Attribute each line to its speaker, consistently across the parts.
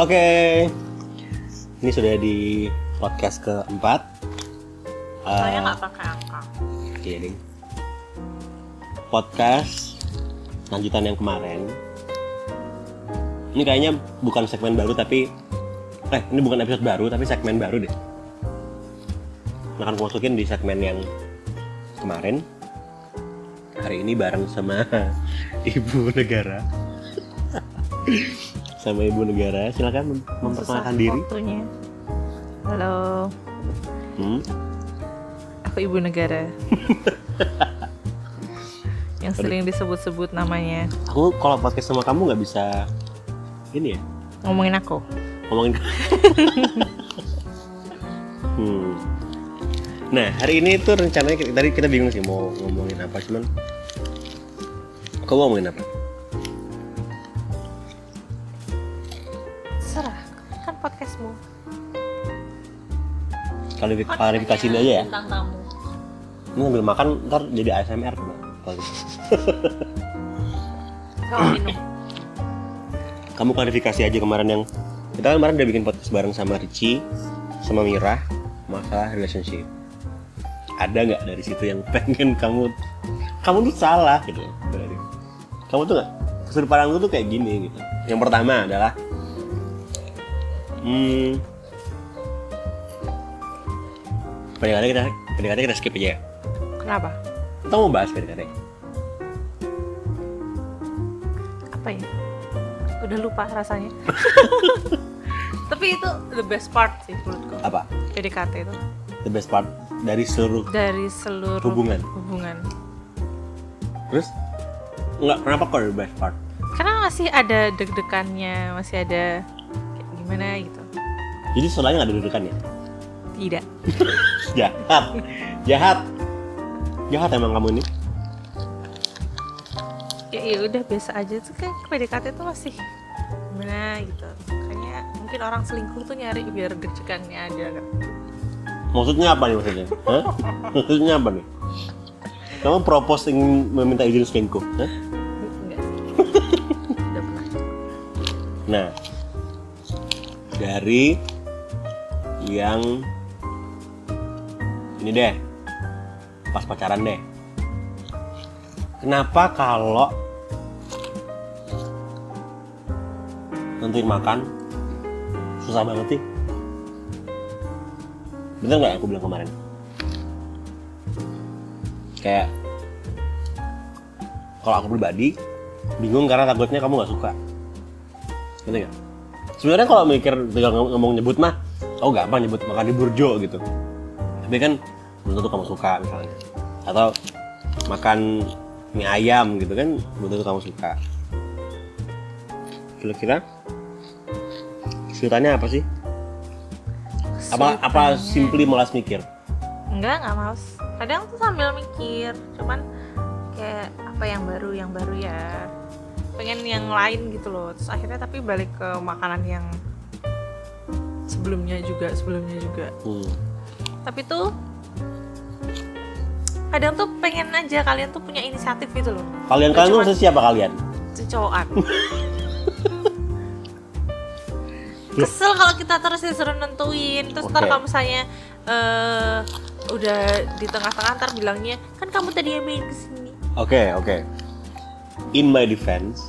Speaker 1: Oke, ini sudah di podcast keempat.
Speaker 2: Saya
Speaker 1: Eh,
Speaker 2: nggak pakai angka.
Speaker 1: Iya ding. Podcast lanjutan yang kemarin. Ini kayaknya bukan segmen baru tapi eh ini bukan episode baru tapi segmen baru deh. Akan aku masukin di segmen yang kemarin. Hari ini bareng sama Ibu Negara. sama Ibu Negara, silakan mem- memperkenalkan
Speaker 2: Susah
Speaker 1: diri.
Speaker 2: Waktunya. Halo,
Speaker 1: Hmm,
Speaker 2: aku ibu negara. yang sering disebut-sebut namanya.
Speaker 1: Aku kalau podcast sama kamu nggak bisa ini ya,
Speaker 2: Ngomongin aku.
Speaker 1: ngomongin hmm. nah hari ini tuh rencananya kita, tadi kita bingung sih mau ngomongin apa cuman kau mau ngomongin apa
Speaker 2: Serah, kan podcastmu.
Speaker 1: Klarifi- klarifikasi ini aja ya
Speaker 2: Tentang tamu.
Speaker 1: ini sambil makan ntar jadi ASMR coba kalau gitu.
Speaker 2: Kau minum.
Speaker 1: kamu klarifikasi aja kemarin yang kita kan kemarin udah bikin podcast bareng sama Ricci sama Mira masalah relationship ada nggak dari situ yang pengen kamu kamu tuh salah gitu berarti kamu tuh nggak sudut pandang lu tuh kayak gini gitu yang pertama adalah hmm PDKT kita PDKT kita skip aja ya
Speaker 2: Kenapa?
Speaker 1: kita mau bahas PDKT
Speaker 2: Apa ya? Udah lupa rasanya. Tapi itu the best part sih menurutku.
Speaker 1: apa
Speaker 2: PDKT itu
Speaker 1: the best part dari seluruh
Speaker 2: dari seluruh
Speaker 1: Hubungan.
Speaker 2: hubungan.
Speaker 1: terus nggak kenapa kok the best part
Speaker 2: Karena masih ada deg-degannya, masih ada kayak gimana gitu.
Speaker 1: Jadi soalnya nggak ada dudukan ya?
Speaker 2: Tidak.
Speaker 1: Jahat, jahat, jahat emang kamu ini.
Speaker 2: ya ya udah biasa aja tuh kan PDKT tuh masih gimana gitu makanya mungkin orang selingkuh tuh nyari biar gercekannya ada kan
Speaker 1: Maksudnya apa nih maksudnya? Hah? Maksudnya apa nih? Kamu propose ingin meminta izin selingkuh? Hah?
Speaker 2: enggak sih udah pernah
Speaker 1: Nah, dari yang ini deh, pas pacaran deh. Kenapa kalau nentuin makan susah banget sih? Bener nggak aku bilang kemarin? Kayak kalau aku pribadi bingung karena takutnya kamu nggak suka. Ngerti nggak? Sebenarnya kalau mikir tinggal ngom- ngomong nyebut mah, oh gampang nyebut makan di burjo gitu. Tapi kan belum tentu kamu suka misalnya. Atau makan mie ayam gitu kan belum tentu kamu suka. Kira-kira kesulitannya apa sih? Apa apa
Speaker 2: Kesulitannya.
Speaker 1: simply malas mikir?
Speaker 2: enggak enggak males kadang tuh sambil mikir cuman kayak apa yang baru yang baru ya pengen yang lain gitu loh terus akhirnya tapi balik ke makanan yang sebelumnya juga sebelumnya juga
Speaker 1: Hmm.
Speaker 2: tapi tuh kadang tuh pengen aja kalian tuh punya inisiatif gitu loh
Speaker 1: Kalian kalian
Speaker 2: Cuman-
Speaker 1: tuh siapa kalian?
Speaker 2: cocokan kesel kalau kita terus disuruh nentuin terus
Speaker 1: Oke.
Speaker 2: ntar kalau misalnya eh, udah di tengah-tengah ntar bilangnya kan kamu tadi yang main kesini
Speaker 1: Oke oke. In my defense,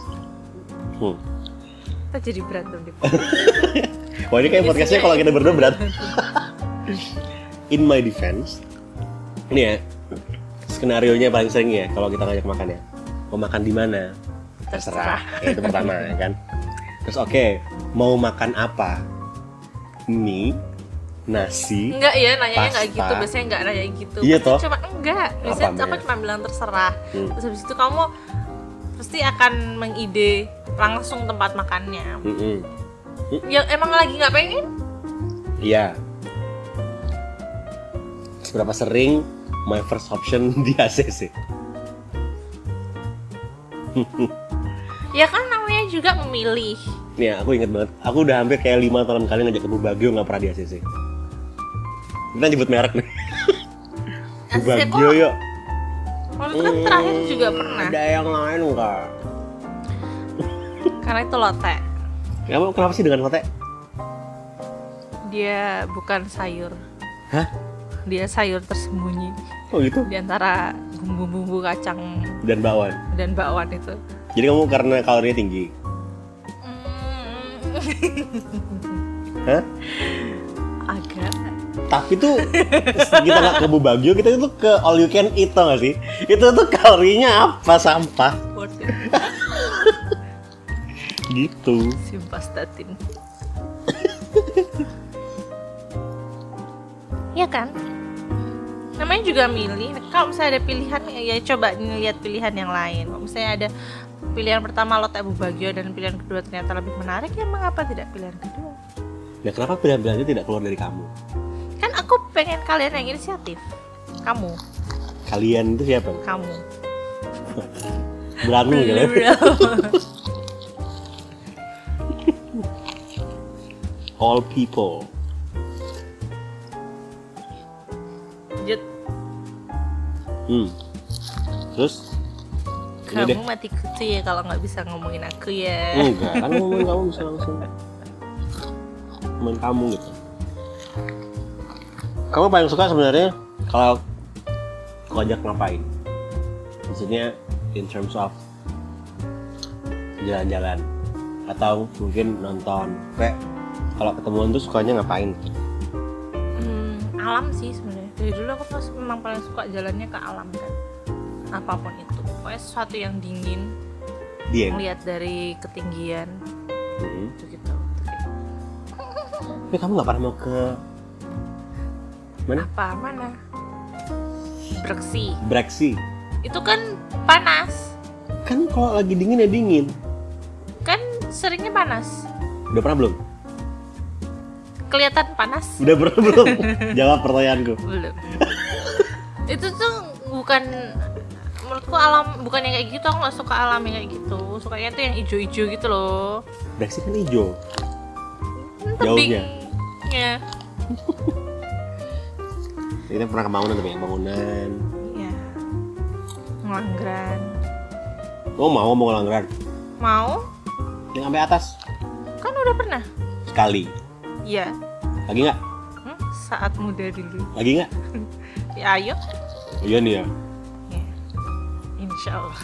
Speaker 1: hmm.
Speaker 2: kita jadi berantem deh
Speaker 1: Wah ini kayak podcastnya kalau kita berdua berat. In my defense, ini ya skenario nya paling sering ya kalau kita ngajak makan ya. Mau makan di mana? Terserah. Ya, itu pertama ya kan. Terus oke, mau makan apa? Mie, nasi.
Speaker 2: enggak ya nanyanya enggak
Speaker 1: Pasta.
Speaker 2: gitu biasanya enggak nanya gitu
Speaker 1: Iya, toh?
Speaker 2: cuma enggak biasanya
Speaker 1: Apa,
Speaker 2: kamu
Speaker 1: Maya?
Speaker 2: cuma bilang terserah
Speaker 1: Hmm.
Speaker 2: terus habis itu kamu pasti akan mengide langsung tempat makannya
Speaker 1: Mm-mm.
Speaker 2: ya emang lagi nggak pengen
Speaker 1: Iya. Seberapa sering my first option di ACC?
Speaker 2: ya kan namanya juga memilih
Speaker 1: Nih aku inget banget, aku udah hampir kayak lima tahun kali ngajak ke Bu Bagio nggak pernah di ACC. Kita nyebut merek nih. Bu
Speaker 2: ACC kok?
Speaker 1: Bagio yuk.
Speaker 2: Waktu itu kan terakhir juga
Speaker 1: ya. Hmm,
Speaker 2: pernah
Speaker 1: Ada yang lain nggak?
Speaker 2: karena itu lote
Speaker 1: Kamu kenapa sih dengan kote?
Speaker 2: Dia bukan sayur.
Speaker 1: Hah?
Speaker 2: Dia sayur tersembunyi
Speaker 1: Oh gitu?
Speaker 2: di antara bumbu-bumbu kacang
Speaker 1: Dan bakwan.
Speaker 2: dan bakwan itu.
Speaker 1: Jadi kamu karena kalorinya tinggi. Hmm. Hah?
Speaker 2: Agak.
Speaker 1: Tapi tuh kita nggak ke Bubagyo, kita itu ke all you can eat tau nggak sih? Itu tuh kalorinya apa sampah
Speaker 2: Worth it.
Speaker 1: gitu.
Speaker 2: Simvastatin. Iya kan? Namanya juga milih. Kalau misalnya ada pilihan, ya coba ngeliat pilihan yang lain. Kalau misalnya ada pilihan pertama Lotte Bubagyo dan pilihan kedua ternyata lebih menarik, ya mengapa tidak pilihan kedua?
Speaker 1: Nah kenapa pilihan-pilihannya tidak keluar dari kamu?
Speaker 2: Kan aku pengen kalian yang inisiatif. Kamu,
Speaker 1: Kalian itu siapa?
Speaker 2: kamu.
Speaker 1: Berani kalian? All people.
Speaker 2: Lanjut.
Speaker 1: Hmm. Terus? Udah deh.
Speaker 2: Kamu mati kutu ya kalau nggak bisa ngomongin aku ya.
Speaker 1: Enggak, kan ngomongin kamu bisa langsung Ngomongin kamu gitu Kamu paling suka sebenarnya kalau aku ajak ngapain? Maksudnya in terms of jalan-jalan atau mungkin nonton kayak kalau ketemuan tuh sukanya ngapain
Speaker 2: Hmm, alam sih sebenarnya. Dari dulu aku pas memang paling suka jalannya ke alam kan. Apapun itu. Pokoknya sesuatu yang dingin,
Speaker 1: dia
Speaker 2: melihat dari ketinggian
Speaker 1: hmm.
Speaker 2: gitu gitu.
Speaker 1: tapi kamu nggak pernah mau ke mana
Speaker 2: Apa mana? Breksi.
Speaker 1: breksi
Speaker 2: Itu kan panas.
Speaker 1: kan kalau lagi dingin ya dingin
Speaker 2: Kan seringnya panas.
Speaker 1: udah pernah belum
Speaker 2: Kelihatan panas.
Speaker 1: udah pernah belum jawab pertanyaanku
Speaker 2: belum itu tuh bukan menurutku alam bukan yang kayak gitu aku nggak suka alam yang kayak gitu sukanya tuh yang ijo-ijo gitu loh
Speaker 1: breksi kan hijau
Speaker 2: Hmm, tebing
Speaker 1: Jauhnya.
Speaker 2: ya
Speaker 1: Kita pernah ke bangunan tapi ya, bangunan.
Speaker 2: iya ngelanggaran
Speaker 1: Oh mau mau langgaran?
Speaker 2: mau
Speaker 1: Yang sampai atas
Speaker 2: kan udah pernah
Speaker 1: sekali.
Speaker 2: iya
Speaker 1: Lagi nggak?
Speaker 2: Hmm, saat muda dulu
Speaker 1: Lagi nggak?
Speaker 2: ya ayo
Speaker 1: Oh, iya nih ya.
Speaker 2: ya insya Allah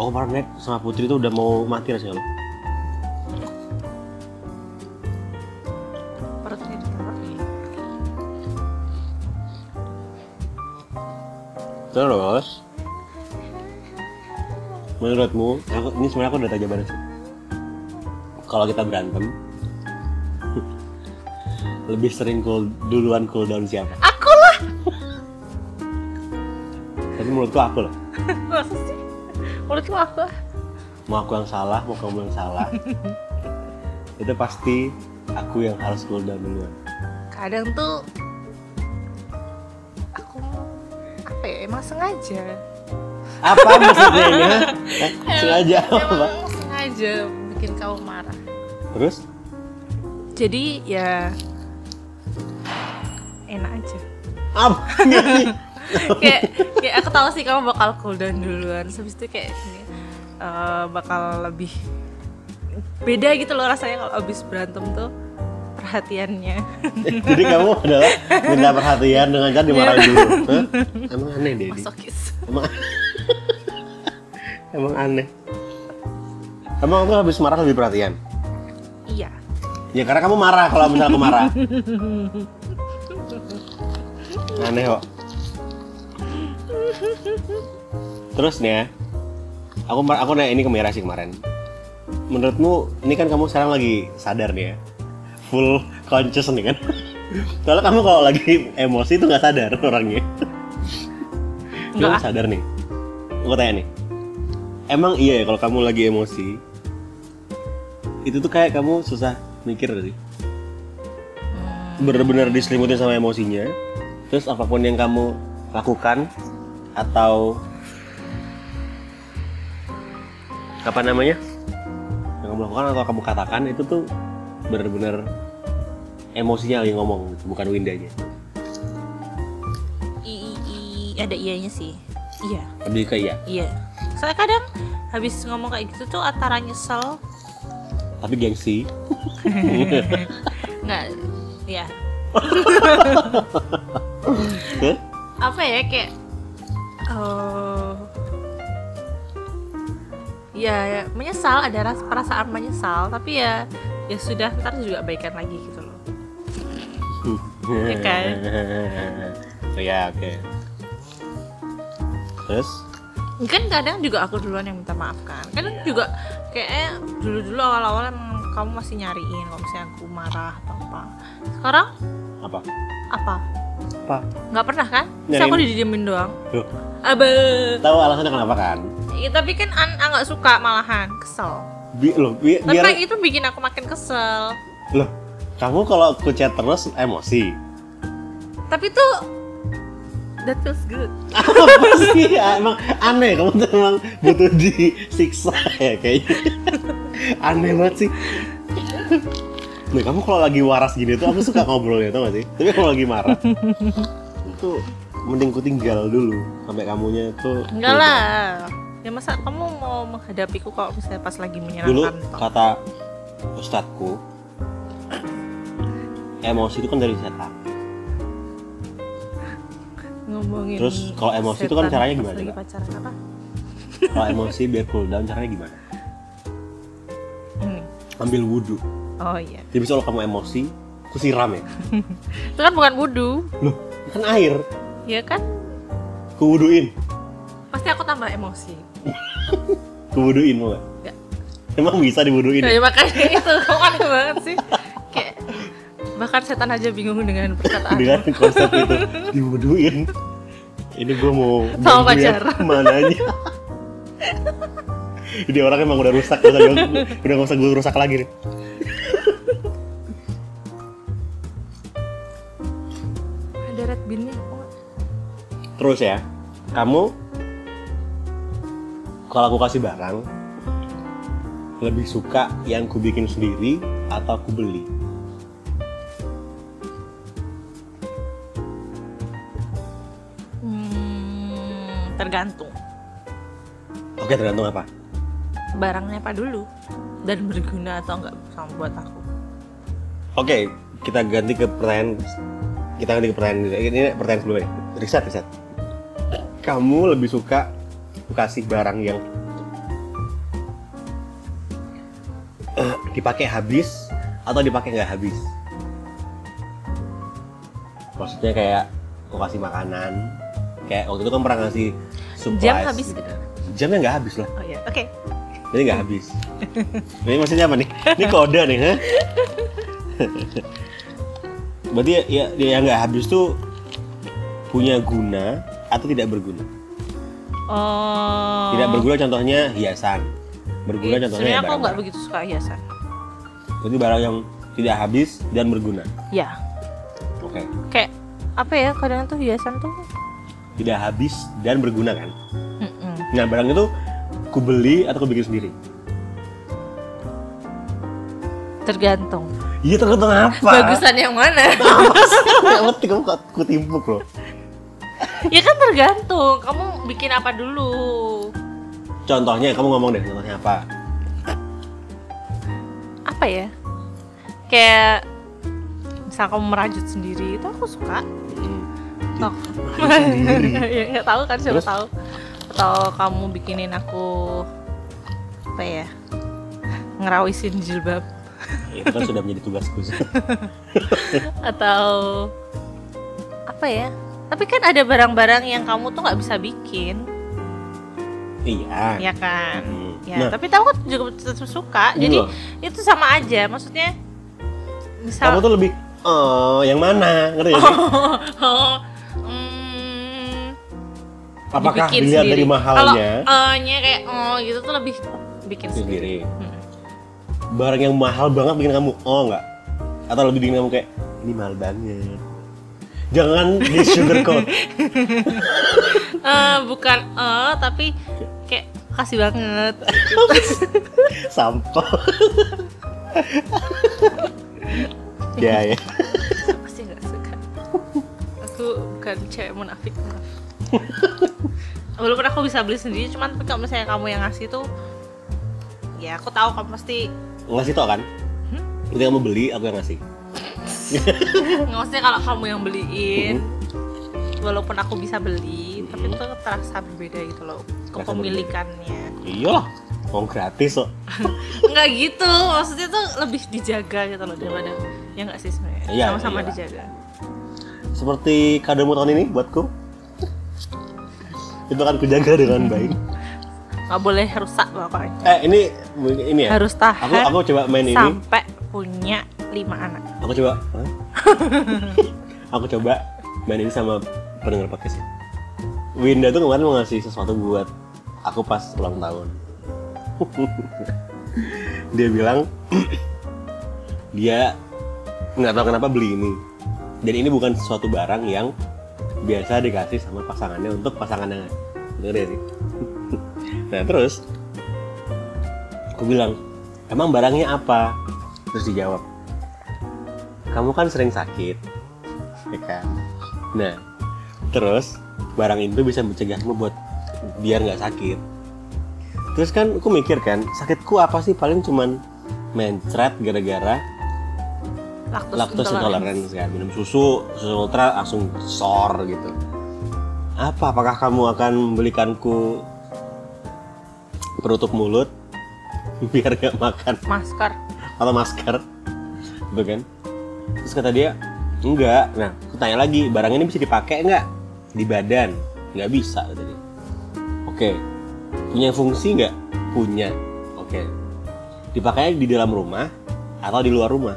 Speaker 1: Oh kemarin naik sama Putri tuh udah mau mati rasanya lo.
Speaker 2: perutnya ditolak
Speaker 1: Terus menurutmu, aku, ini sebenarnya aku udah tanya banget sih. Kalau kita berantem, lebih sering cool, duluan cool down siapa?
Speaker 2: aku lah
Speaker 1: Tapi menurutku aku loh.
Speaker 2: masa sih menurutku aku
Speaker 1: Mau aku yang salah, mau kamu yang salah. itu pasti aku yang harus cool down duluan.
Speaker 2: kadang tuh aku apa ya emang sengaja
Speaker 1: apa maksudnya ini? hah? Eh, sengaja apa?
Speaker 2: emang sengaja bikin kamu marah
Speaker 1: Terus
Speaker 2: jadi ya enak aja
Speaker 1: apa sih?
Speaker 2: kayak kayak aku tahu sih kamu bakal cooldown duluan terus habis itu kayak ini, eh, bakal lebih beda gitu loh rasanya kalau habis berantem tuh perhatiannya
Speaker 1: Jadi kamu adalah minta perhatian dengan cara dimarahin dulu. Hah? Emang aneh deh. Di.
Speaker 2: masokis
Speaker 1: Emang emang aneh. Emang kamu habis marah lebih perhatian?
Speaker 2: iya
Speaker 1: Ya karena kamu marah kalau misalnya aku marah. Aneh kok. Terus nih ya, aku mar- aku nanya ini ke Mira sih kemarin. Menurutmu ini kan kamu sekarang lagi sadar nih ya, full conscious nih kan? Soalnya kamu kalau lagi emosi itu nggak sadar orangnya.
Speaker 2: Nggak
Speaker 1: Kamu
Speaker 2: ah.
Speaker 1: sadar nih. Aku tanya nih, emang iya ya kalau kamu lagi emosi itu tuh kayak kamu susah mikir nggak sih? bener-bener diselimutin sama emosinya terus apapun yang kamu lakukan atau apa namanya yang kamu lakukan atau kamu katakan itu tuh bener-bener emosinya lagi ngomong gitu, bukan windanya
Speaker 2: I, i, i- ada ianya sih iya
Speaker 1: lebih kayak iya
Speaker 2: Iya. Soalnya kadang habis ngomong kayak gitu tuh antara nyesel
Speaker 1: tapi gengsi
Speaker 2: nggak ya
Speaker 1: Hah?
Speaker 2: apa ya kayak eh, ya ya, menyesal ada ras- perasaan menyesal tapi ya ya sudah ntar juga baikan lagi gitu loh Iya kan?
Speaker 1: so, ya oke terus
Speaker 2: kan kadang juga aku duluan yang minta maaf kan kadang
Speaker 1: Iya.
Speaker 2: juga kayak dulu dulu awal awal emang kamu masih nyariin kalau misalnya aku marah atau apa sekarang
Speaker 1: apa
Speaker 2: apa
Speaker 1: apa
Speaker 2: nggak pernah kan Terus aku
Speaker 1: Nyariin.
Speaker 2: didiemin doang
Speaker 1: Loh.
Speaker 2: abe
Speaker 1: tahu alasannya kenapa kan
Speaker 2: ya, tapi kan an An nggak suka malahan kesel
Speaker 1: Bi loh, bi-
Speaker 2: tapi
Speaker 1: biar
Speaker 2: kayak itu bikin aku makin kesel
Speaker 1: loh kamu kalau aku chat terus emosi
Speaker 2: tapi tuh that feels good
Speaker 1: apa sih Ah, emang aneh kamu tuh emang butuh disiksa ya kayaknya aneh banget sih Nih kamu kalau lagi waras gini tuh aku suka ngobrolnya tau gak sih tapi kalau lagi marah itu mending ku tinggal dulu sampai kamunya tuh
Speaker 2: enggak lah ya masa kamu mau menghadapiku kalau misalnya pas lagi
Speaker 1: dulu
Speaker 2: menyenangkan toh?
Speaker 1: kata ustadku emosi itu kan dari setan
Speaker 2: ngomongin
Speaker 1: Terus kalau emosi itu kan
Speaker 2: setan
Speaker 1: caranya
Speaker 2: pas
Speaker 1: gimana
Speaker 2: lagi
Speaker 1: coba?
Speaker 2: pacaran apa
Speaker 1: kalau emosi biar cool down caranya gimana
Speaker 2: Hmm.
Speaker 1: ambil wudhu
Speaker 2: oh iya
Speaker 1: jadi kalau kamu emosi ku siram ya
Speaker 2: itu kan bukan wudhu
Speaker 1: loh kan air
Speaker 2: ya kan
Speaker 1: kuwuduin
Speaker 2: pasti aku tambah emosi
Speaker 1: kuwuduin mau gak?
Speaker 2: Nggak.
Speaker 1: emang bisa diwuduin ya?
Speaker 2: ya makanya itu kamu aneh banget sih kayak bahkan setan aja bingung dengan perkataan
Speaker 1: dengan konsep itu diwuduin ini gue mau ya,
Speaker 2: Sama
Speaker 1: ganggu yang
Speaker 2: pacar.
Speaker 1: mananya jadi orang emang udah rusak udah udah gak usah gue rusak lagi nih
Speaker 2: ada red bean-nya apa nggak?
Speaker 1: terus ya kamu kalau aku kasih barang lebih suka yang ku bikin sendiri atau ku beli
Speaker 2: hmm, tergantung
Speaker 1: oke tergantung apa
Speaker 2: barangnya apa dulu dan berguna atau enggak sama buat aku
Speaker 1: Oke, kita ganti ke pertanyaan kita ganti ke pertanyaan ini pertanyaan sebelumnya. Riset, riset. Kamu lebih suka aku kasih barang yang eh, dipakai habis atau dipakai nggak habis? Maksudnya kayak aku kasih makanan, kayak waktu itu kan pernah ngasih surprise.
Speaker 2: Jam habis gitu.
Speaker 1: Jamnya nggak habis lah,
Speaker 2: oh iya oke
Speaker 1: jadi nggak habis. Ini maksudnya apa nih? Ini kode nih, ha? Berarti ya, ya, ya yang nggak habis tuh punya guna atau tidak berguna?
Speaker 2: oh Iya,
Speaker 1: Tidak berguna contohnya hiasan. Berguna contohnya ya
Speaker 2: sebenarnya aku
Speaker 1: barang.
Speaker 2: nggak begitu suka hiasan
Speaker 1: Berarti barang yang tidak habis dan berguna.
Speaker 2: ya
Speaker 1: Oke.
Speaker 2: kayak apa ya kadang tuh hiasan tuh
Speaker 1: Tidak habis dan berguna kan?
Speaker 2: Mm-mm.
Speaker 1: Nah, barang itu ku beli atau ku bikin sendiri?
Speaker 2: tergantung
Speaker 1: Iya tergantung apa?
Speaker 2: bagusan yang mana
Speaker 1: Nggak ngerti kamu kok ku timpuk loh.
Speaker 2: ya kan tergantung kamu bikin apa dulu
Speaker 1: Contohnya kamu ngomong deh contohnya apa?
Speaker 2: apa ya kayak misal kamu merajut sendiri itu aku suka
Speaker 1: Hmm.
Speaker 2: Tok. ya nggak tahu kan siapa
Speaker 1: Terus?
Speaker 2: tahu atau kamu bikinin aku apa ya ngerawisin jilbab
Speaker 1: Itu kan sudah menjadi tugasku.
Speaker 2: atau apa ya tapi kan ada barang-barang yang kamu tuh nggak bisa bikin
Speaker 1: iya.
Speaker 2: ya kan
Speaker 1: Hmm.
Speaker 2: ya
Speaker 1: Nah.
Speaker 2: tapi kamu kan juga tetap suka
Speaker 1: Ini
Speaker 2: jadi
Speaker 1: loh.
Speaker 2: itu sama aja maksudnya
Speaker 1: kamu
Speaker 2: misal
Speaker 1: tuh lebih oh yang mana ngerti gak sih?
Speaker 2: Oh, Hmm,
Speaker 1: apakah
Speaker 2: dibikin
Speaker 1: dilihat
Speaker 2: sendiri.
Speaker 1: dari mahalnya
Speaker 2: Kalau "eh"-nya kayak oh gitu tuh lebih bikin sendiri.
Speaker 1: sendiri
Speaker 2: Hmm.
Speaker 1: barang yang mahal banget bikin kamu oh enggak atau lebih bikin kamu kayak ini mahal banget jangan di sugarcoat
Speaker 2: Eh, bukan eh tapi kayak kasih banget.
Speaker 1: sampel ya ya
Speaker 2: Aku pasti nggak suka. Aku bukan cewek munafik. maaf. Walaupun aku bisa beli sendiri, cuman tapi kalau misalnya kamu yang ngasih tuh, ya aku tahu kamu pasti
Speaker 1: ngasih tau kan
Speaker 2: Hmm?
Speaker 1: itu yang mau beli aku yang ngasih
Speaker 2: Maksudnya kalau kamu yang beliin, walaupun aku bisa beli, tapi itu terasa berbeda gitu loh kepemilikannya.
Speaker 1: iyalah mau Oh, gratis kok
Speaker 2: Enggak gitu, maksudnya tuh lebih dijaga gitu loh daripada ya enggak sih sebenarnya.
Speaker 1: Iya,
Speaker 2: Sama-sama
Speaker 1: iya.
Speaker 2: dijaga.
Speaker 1: seperti kado tahun ini buatku itu akan kujaga dengan baik
Speaker 2: Nggak boleh rusak pokoknya.
Speaker 1: eh ini ini ya
Speaker 2: Harus tahan
Speaker 1: aku aku coba main ini
Speaker 2: sampai punya lima anak.
Speaker 1: aku coba Hah? aku coba main ini sama pendengar podcast ya. Winda tuh kemarin mau ngasih sesuatu buat aku pas ulang tahun dia bilang dia nggak tahu kenapa beli ini dan ini bukan sesuatu barang yang biasa dikasih sama pasangannya untuk pasangannya bener ya sih nah terus aku bilang emang barangnya apa terus dijawab kamu kan sering sakit ya kan nah terus barang itu bisa mencegahmu buat biar nggak sakit terus kan aku mikir kan sakitku apa sih paling cuman mencret gara-gara
Speaker 2: Laktos,
Speaker 1: laktos
Speaker 2: intoleransi.
Speaker 1: intoleransi kan minum susu susu ultra langsung sor gitu apa apakah kamu akan membelikanku penutup mulut biar gak makan
Speaker 2: Masker.
Speaker 1: atau masker gitu kan terus kata dia enggak nah aku tanya lagi barang ini bisa dipakai nggak di badan nggak bisa kata dia oke punya fungsi nggak punya oke dipakainya di dalam rumah atau di luar rumah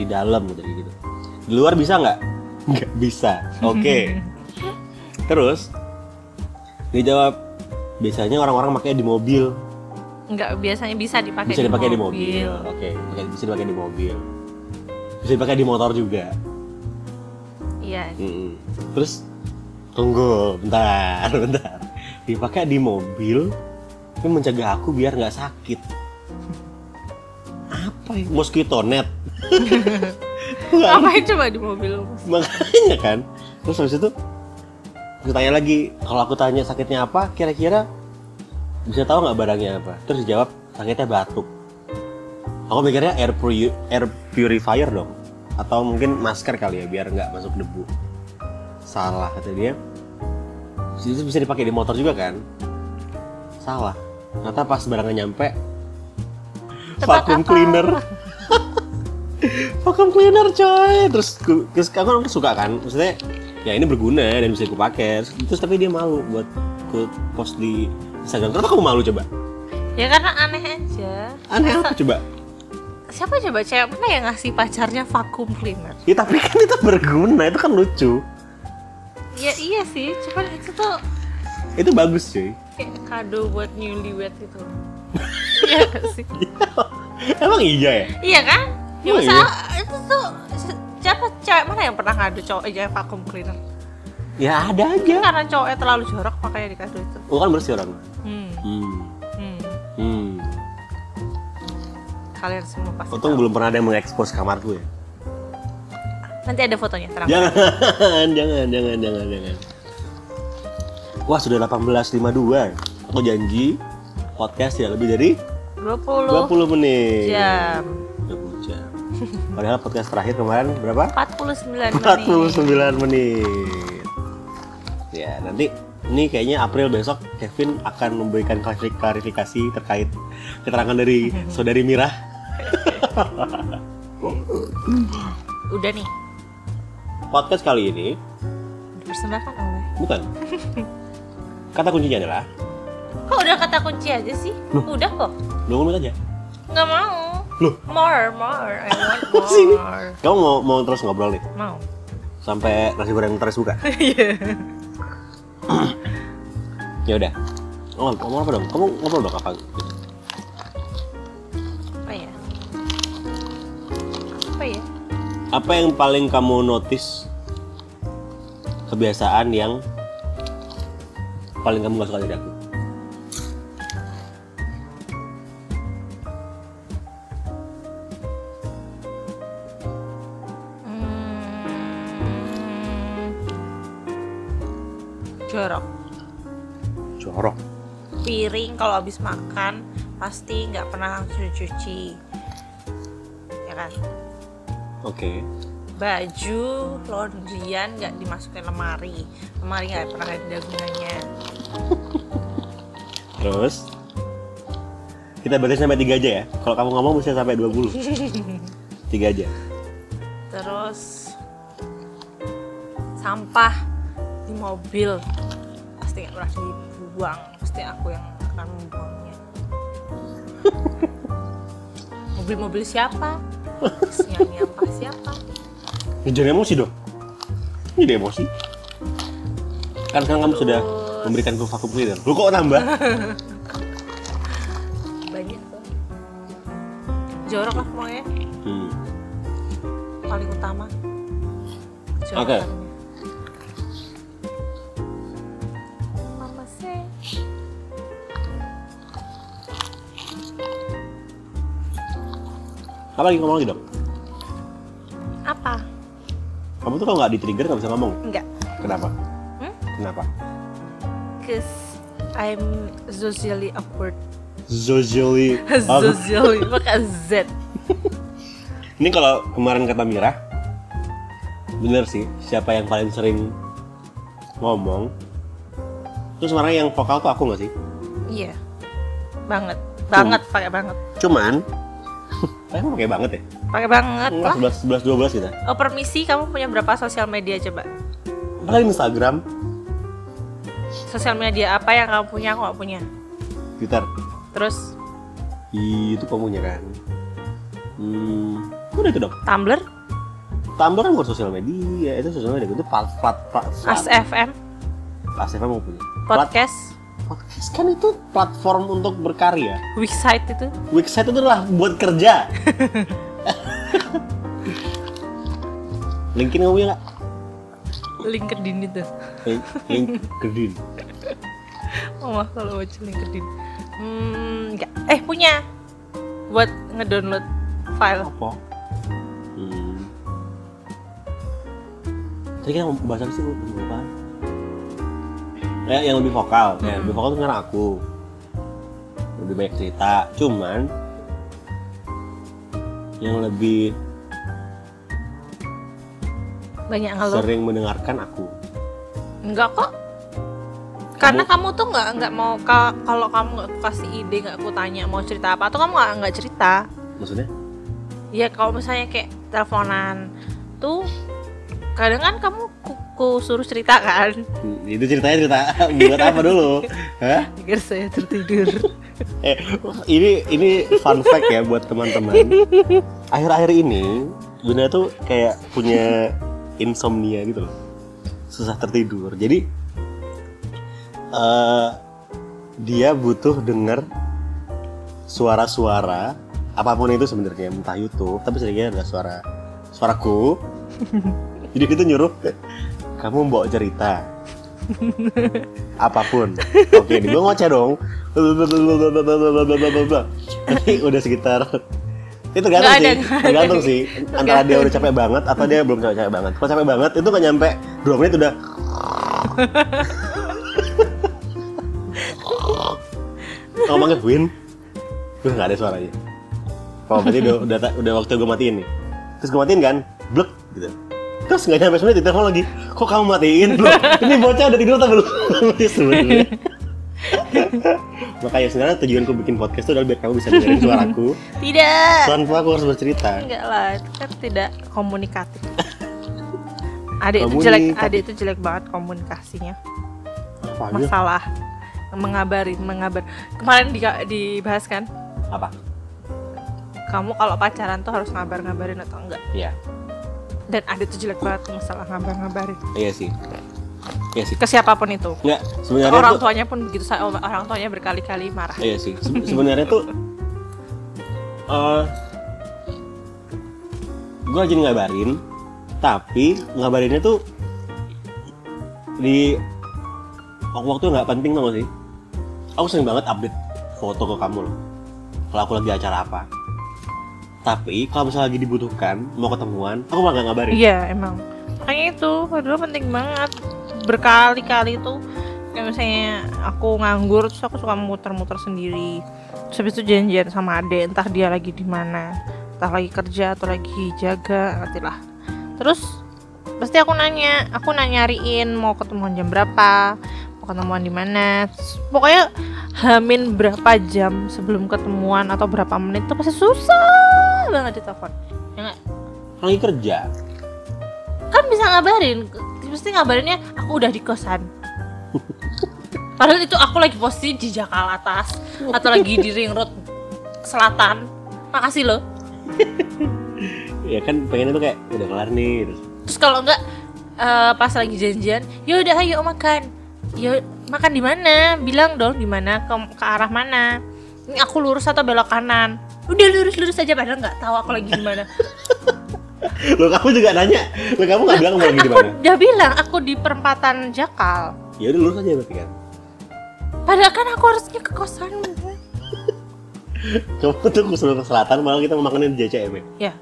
Speaker 1: di dalam gitu gitu di luar bisa nggak nggak bisa oke terus dia jawab biasanya orang-orang makanya di mobil
Speaker 2: Enggak biasanya bisa dipakai
Speaker 1: bisa dipakai di mobil, oke Pakai- bisa dipakai di mobil bisa dipakai di motor juga
Speaker 2: Iya.
Speaker 1: Mm-mm. terus tunggu bentar bentar dipakai di mobil itu mencegah aku biar nggak sakit apa ya mosquito net Nggak
Speaker 2: Ngapain coba di mobil?
Speaker 1: makanya kan terus habis itu aku tanya lagi kalau aku tanya sakitnya apa kira-kira bisa tahu nggak barangnya apa terus dijawab sakitnya batuk aku mikirnya air puri- air purifier dong atau mungkin masker kali ya biar nggak masuk debu salah kata dia Terus itu bisa dipakai di motor juga kan salah ternyata pas barangnya nyampe
Speaker 2: Tebak
Speaker 1: vacuum
Speaker 2: apa?
Speaker 1: cleaner vacuum cleaner coy terus ku- terus aku kan suka kan maksudnya ya ini berguna dan bisa aku pakai terus, terus tapi dia malu buat ku post di Instagram kenapa kamu malu coba
Speaker 2: Ya karena aneh aja.
Speaker 1: aneh apa coba
Speaker 2: Siapa coba cewek mana yang ngasih pacarnya vacuum cleaner?
Speaker 1: ya tapi kan itu berguna itu kan lucu
Speaker 2: Ya iya sih, cuman itu tuh
Speaker 1: itu bagus cuy
Speaker 2: kayak kado buat newlywed gitu. Iya gak sih?
Speaker 1: emang iya ya
Speaker 2: Iya kan? Ya
Speaker 1: Oh,
Speaker 2: masa
Speaker 1: iya.
Speaker 2: itu tuh se- siapa cewek mana yang pernah ngadu cowok aja yang vacuum cleaner?
Speaker 1: ya ada aja
Speaker 2: Karena cowoknya terlalu jorok makanya dikado itu.
Speaker 1: oh kan bersih orang
Speaker 2: Hmm,
Speaker 1: hmm
Speaker 2: hmm.
Speaker 1: hmm
Speaker 2: Kalian semua pasti.
Speaker 1: untung
Speaker 2: tahu.
Speaker 1: belum pernah ada yang mengekspos kamarku ya
Speaker 2: Nanti ada fotonya terang.
Speaker 1: Iya. jangan jangan jangan jangan jangan wah sudah 18.52 aku janji podcast tidak lebih dari
Speaker 2: 20
Speaker 1: 20 menit
Speaker 2: jam.
Speaker 1: 20 jam padahal podcast terakhir kemarin berapa
Speaker 2: 49
Speaker 1: 49
Speaker 2: menit.
Speaker 1: menit ya nanti ini kayaknya April besok Kevin akan memberikan klarifi- klarifikasi terkait keterangan dari saudari Mira
Speaker 2: Udah nih.
Speaker 1: podcast kali ini
Speaker 2: Dipersembahkan oleh
Speaker 1: bukan kata kuncinya adalah
Speaker 2: Kok udah kata kunci aja sih? Udah kok.
Speaker 1: dua menit aja
Speaker 2: Nggak mau.
Speaker 1: Loh?
Speaker 2: More, more. I want
Speaker 1: Apa sih ini?
Speaker 2: more.
Speaker 1: kamu mau mau terus ngobrol nih
Speaker 2: Mau.
Speaker 1: sampai nasi goreng terus buka ya udah oh kamu apa dong kamu ngobrol dong apa
Speaker 2: Apa ya? Apa ya?
Speaker 1: apa yang paling kamu notice kebiasaan yang paling kamu gak suka dari aku
Speaker 2: Hmm. Jorok.
Speaker 1: jorok
Speaker 2: Piring kalau habis makan pasti nggak pernah langsung dicuci. ya kan
Speaker 1: Oke.
Speaker 2: baju laundryan nggak dimasukin lemari lemari nggak pernah ada gunanya
Speaker 1: Terus kita batas sampai tiga aja ya. Kalau kamu ngomong bisa sampai 20. Tiga aja.
Speaker 2: terus sampah di mobil pasti nggak pernah dibuang pasti aku yang akan membuangnya mobil-mobil siapa nyanyi apa siapa
Speaker 1: Jangan emosi dong. Ini dia emosi. Kan sekarang kamu sudah
Speaker 2: Terus.
Speaker 1: memberikanku vakum cleaner. Lu kok nambah?
Speaker 2: banyak tuh jorok lah pokoknya
Speaker 1: Hmm.
Speaker 2: paling utama jorok
Speaker 1: Oke.
Speaker 2: paling. Apa sih?
Speaker 1: Apa lagi ngomong lagi dong?
Speaker 2: apa
Speaker 1: Kamu tuh kalau nggak di-trigger nggak bisa ngomong.
Speaker 2: enggak
Speaker 1: Kenapa?
Speaker 2: Hmm?
Speaker 1: Kenapa?
Speaker 2: cause I'm socially awkward
Speaker 1: Zozili.
Speaker 2: Zozili, pakai Z.
Speaker 1: Ini kalau kemarin kata Mira, bener sih. Siapa yang paling sering ngomong? Terus sebenarnya yang vokal tuh aku nggak sih?
Speaker 2: Iya. Banget. Banget, pakai banget.
Speaker 1: Cuman, emang pakai banget ya?
Speaker 2: Pakai banget lah.
Speaker 1: Enggak, 11, 11, 12 gitu.
Speaker 2: Oh, permisi, kamu punya berapa sosial media coba?
Speaker 1: Apalagi Instagram,
Speaker 2: Sosial media apa yang kamu punya, aku nggak punya.
Speaker 1: Twitter.
Speaker 2: Terus
Speaker 1: Ih, Itu kamu punya kan? Hmm, udah itu dong.
Speaker 2: Tumblr,
Speaker 1: Tumblr kan bukan sosial media, itu sosial media itu plat plat plat.
Speaker 2: As FM,
Speaker 1: Asef mau punya. Plat-
Speaker 2: podcast,
Speaker 1: podcast kan itu platform untuk berkarya.
Speaker 2: website itu.
Speaker 1: Website itu adalah buat kerja. LinkedIn kamu punya nggak?
Speaker 2: LinkedIn itu.
Speaker 1: Link- LinkedIn.
Speaker 2: Mama Oh, kalau baca LinkedIn. Hmm, nggak. Eh, punya. Buat ngedownload file.
Speaker 1: Apa? Hmm. Tadi kita mau bahas apa sih? Bu? Ngomong apaan? Eh, yang lebih vokal, ya,
Speaker 2: Hmm.
Speaker 1: lebih vokal tuh karena aku lebih banyak cerita. Cuman yang lebih
Speaker 2: Banyak ngeluh.
Speaker 1: sering mendengarkan aku.
Speaker 2: Enggak kok. Karena kamu tuh nggak nggak mau ka- kalau kamu nggak aku kasih ide nggak aku tanya mau cerita apa tuh kamu nggak nggak cerita.
Speaker 1: Maksudnya?
Speaker 2: Ya kalau misalnya kayak teleponan tuh kadang kan kamu ku, ku suruh cerita kan
Speaker 1: Hmm, Itu ceritanya cerita buat apa dulu? Hah?
Speaker 2: agar saya tertidur.
Speaker 1: Eh, ini ini fun fact ya buat teman-teman. Akhir-akhir ini Bunda tuh kayak punya insomnia gitu loh. Susah tertidur. Jadi eh dia butuh denger suara-suara apapun itu sebenarnya entah YouTube tapi seringnya adalah suara suaraku jadi itu nyuruh kamu bawa cerita apapun oke ini gue ngoceh dong tapi udah sekitar itu tergantung
Speaker 2: Nggak ada,
Speaker 1: sih
Speaker 2: nggak ada.
Speaker 1: tergantung sih antara dia
Speaker 2: Tergantung.
Speaker 1: udah capek banget atau dia belum capek banget kalau capek banget itu nggak nyampe dua menit udah ngomongnya Win Duh nggak ada suaranya Oh berarti udah, udah, udah waktu gue matiin nih Terus gue matiin kan Blek gitu Terus nggak nyampe semenit ditelepon lagi Kok kamu matiin Blek Ini bocah udah tidur tapi belum mati sebenarnya Makanya sebenarnya tujuanku bikin podcast itu adalah biar kamu bisa dengerin suaraku
Speaker 2: Tidak.
Speaker 1: Tanpa aku harus bercerita
Speaker 2: Enggak lah, itu kan tidak komunikatif. Adik itu jelek,
Speaker 1: Komunikatif.
Speaker 2: adik itu jelek banget komunikasinya.
Speaker 1: Apa aja?
Speaker 2: Masalah mengabari, mengabar. Kemarin di, dibahas kan
Speaker 1: Apa?
Speaker 2: kamu kalau pacaran tuh harus ngabar-ngabarin atau enggak
Speaker 1: Iya
Speaker 2: dan ada tuh jelek banget masalah ngabar-ngabarin
Speaker 1: Iya sih Iya sih
Speaker 2: ke siapapun itu
Speaker 1: Enggak sebenarnya
Speaker 2: orang
Speaker 1: tuh-
Speaker 2: tuanya pun begitu sa- orang tuanya berkali-kali marah
Speaker 1: Iya sih. Se- sebenarnya tuh eh gue rajin ngabarin, tapi ngabarinnya tuh di waktu nggak penting tau gak sih. Aku sering banget update foto ke kamu loh. Kalau aku lagi acara apa. Tapi kalau misalnya lagi dibutuhkan, mau ketemuan, aku malah nggak ngabarin.
Speaker 2: iya emang makanya itu kedua penting banget berkali-kali tuh kayak misalnya aku nganggur terus aku suka muter-muter sendiri terus habis itu janjian sama ade entah dia lagi di mana entah lagi kerja atau lagi jaga nanti lah terus pasti aku nanya aku nanya nyariin mau ketemuan jam berapa mau ketemuan di mana Terus pokoknya hamin berapa jam sebelum ketemuan atau berapa menit itu pasti susah banget ditelepon ya nggak?
Speaker 1: Kan lagi kerja.
Speaker 2: kan bisa ngabarin pasti ngabarinnya aku udah di kosan padahal itu aku lagi posisi di Jakarta atas atau lagi di ring road selatan makasih loh
Speaker 1: Ya kan pengennya tuh kayak udah kelar nih. Terus
Speaker 2: terus kalau enggak eh, pas lagi janjian ya udah ayo makan ya makan di mana bilang dong di mana ke, ke arah mana ini aku lurus atau belok kanan udah lurus lurus aja padahal nggak tahu aku lagi di mana
Speaker 1: lo kamu juga nanya, lo kamu nggak bilang mau lagi di
Speaker 2: aku
Speaker 1: mana?
Speaker 2: udah bilang aku di perempatan Jakal
Speaker 1: Ya udah lurus aja berarti kan.
Speaker 2: padahal kan aku harusnya ke kosan
Speaker 1: Kamu tuh ke sebelah selatan malah kita mau makanin di JCM ya.
Speaker 2: ya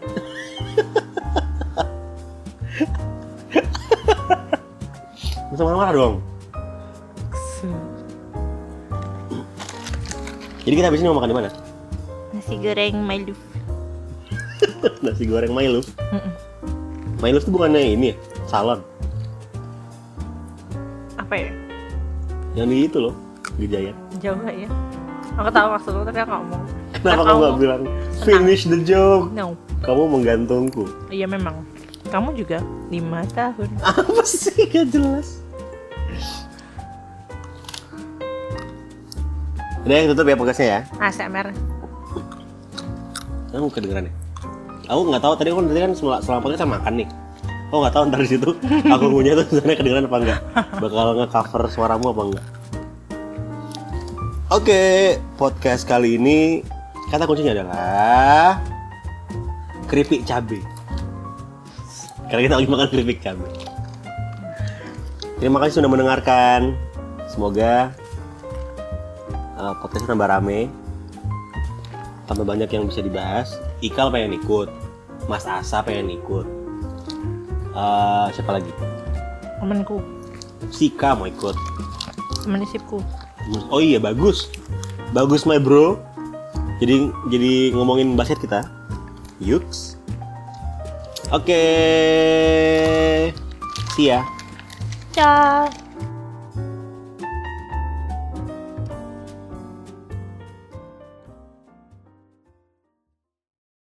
Speaker 1: Bisa marah-marah dong. Jadi kita habis ini mau makan di mana?
Speaker 2: nasi goreng malu
Speaker 1: Nasi goreng Mailuf. Mailuf tuh bukannya ini ya, salon.
Speaker 2: apa ya
Speaker 1: Yang di itu loh, di Jaya.
Speaker 2: jauh nggak ya aku tahu maksud lo tapi aku nggak ngomong
Speaker 1: Kenapa
Speaker 2: Nah,
Speaker 1: kamu nggak
Speaker 2: kamu-
Speaker 1: bilang finish the joke?
Speaker 2: no
Speaker 1: Kamu menggantungku.
Speaker 2: iya memang kamu juga lima tahun
Speaker 1: Apa sih gak jelas? Udah ya, tutup ya podcastnya ya.
Speaker 2: ASMR
Speaker 1: Kamu kedengeran ya? Aku nggak tahu tadi aku tadi kan sel- selama podcast sama makan nih. Aku nggak tahu ntar di situ aku punya tuh sebenarnya kedengeran apa enggak. Bakal nge-cover suaramu apa enggak. Oke, podcast kali ini kata kuncinya adalah keripik cabe. Karena kita lagi makan keripik cabe. Terima kasih sudah mendengarkan. Semoga eh, podcast nambah rame tambah banyak yang bisa dibahas. Ikal pengen ikut, Mas Asa pengen ikut, Eh, siapa lagi?
Speaker 2: temanku
Speaker 1: Sika mau ikut.
Speaker 2: teman isipku
Speaker 1: Oh iya bagus, bagus my bro. Jadi jadi ngomongin basket kita. Yuks. Oke, see ya.
Speaker 2: ciao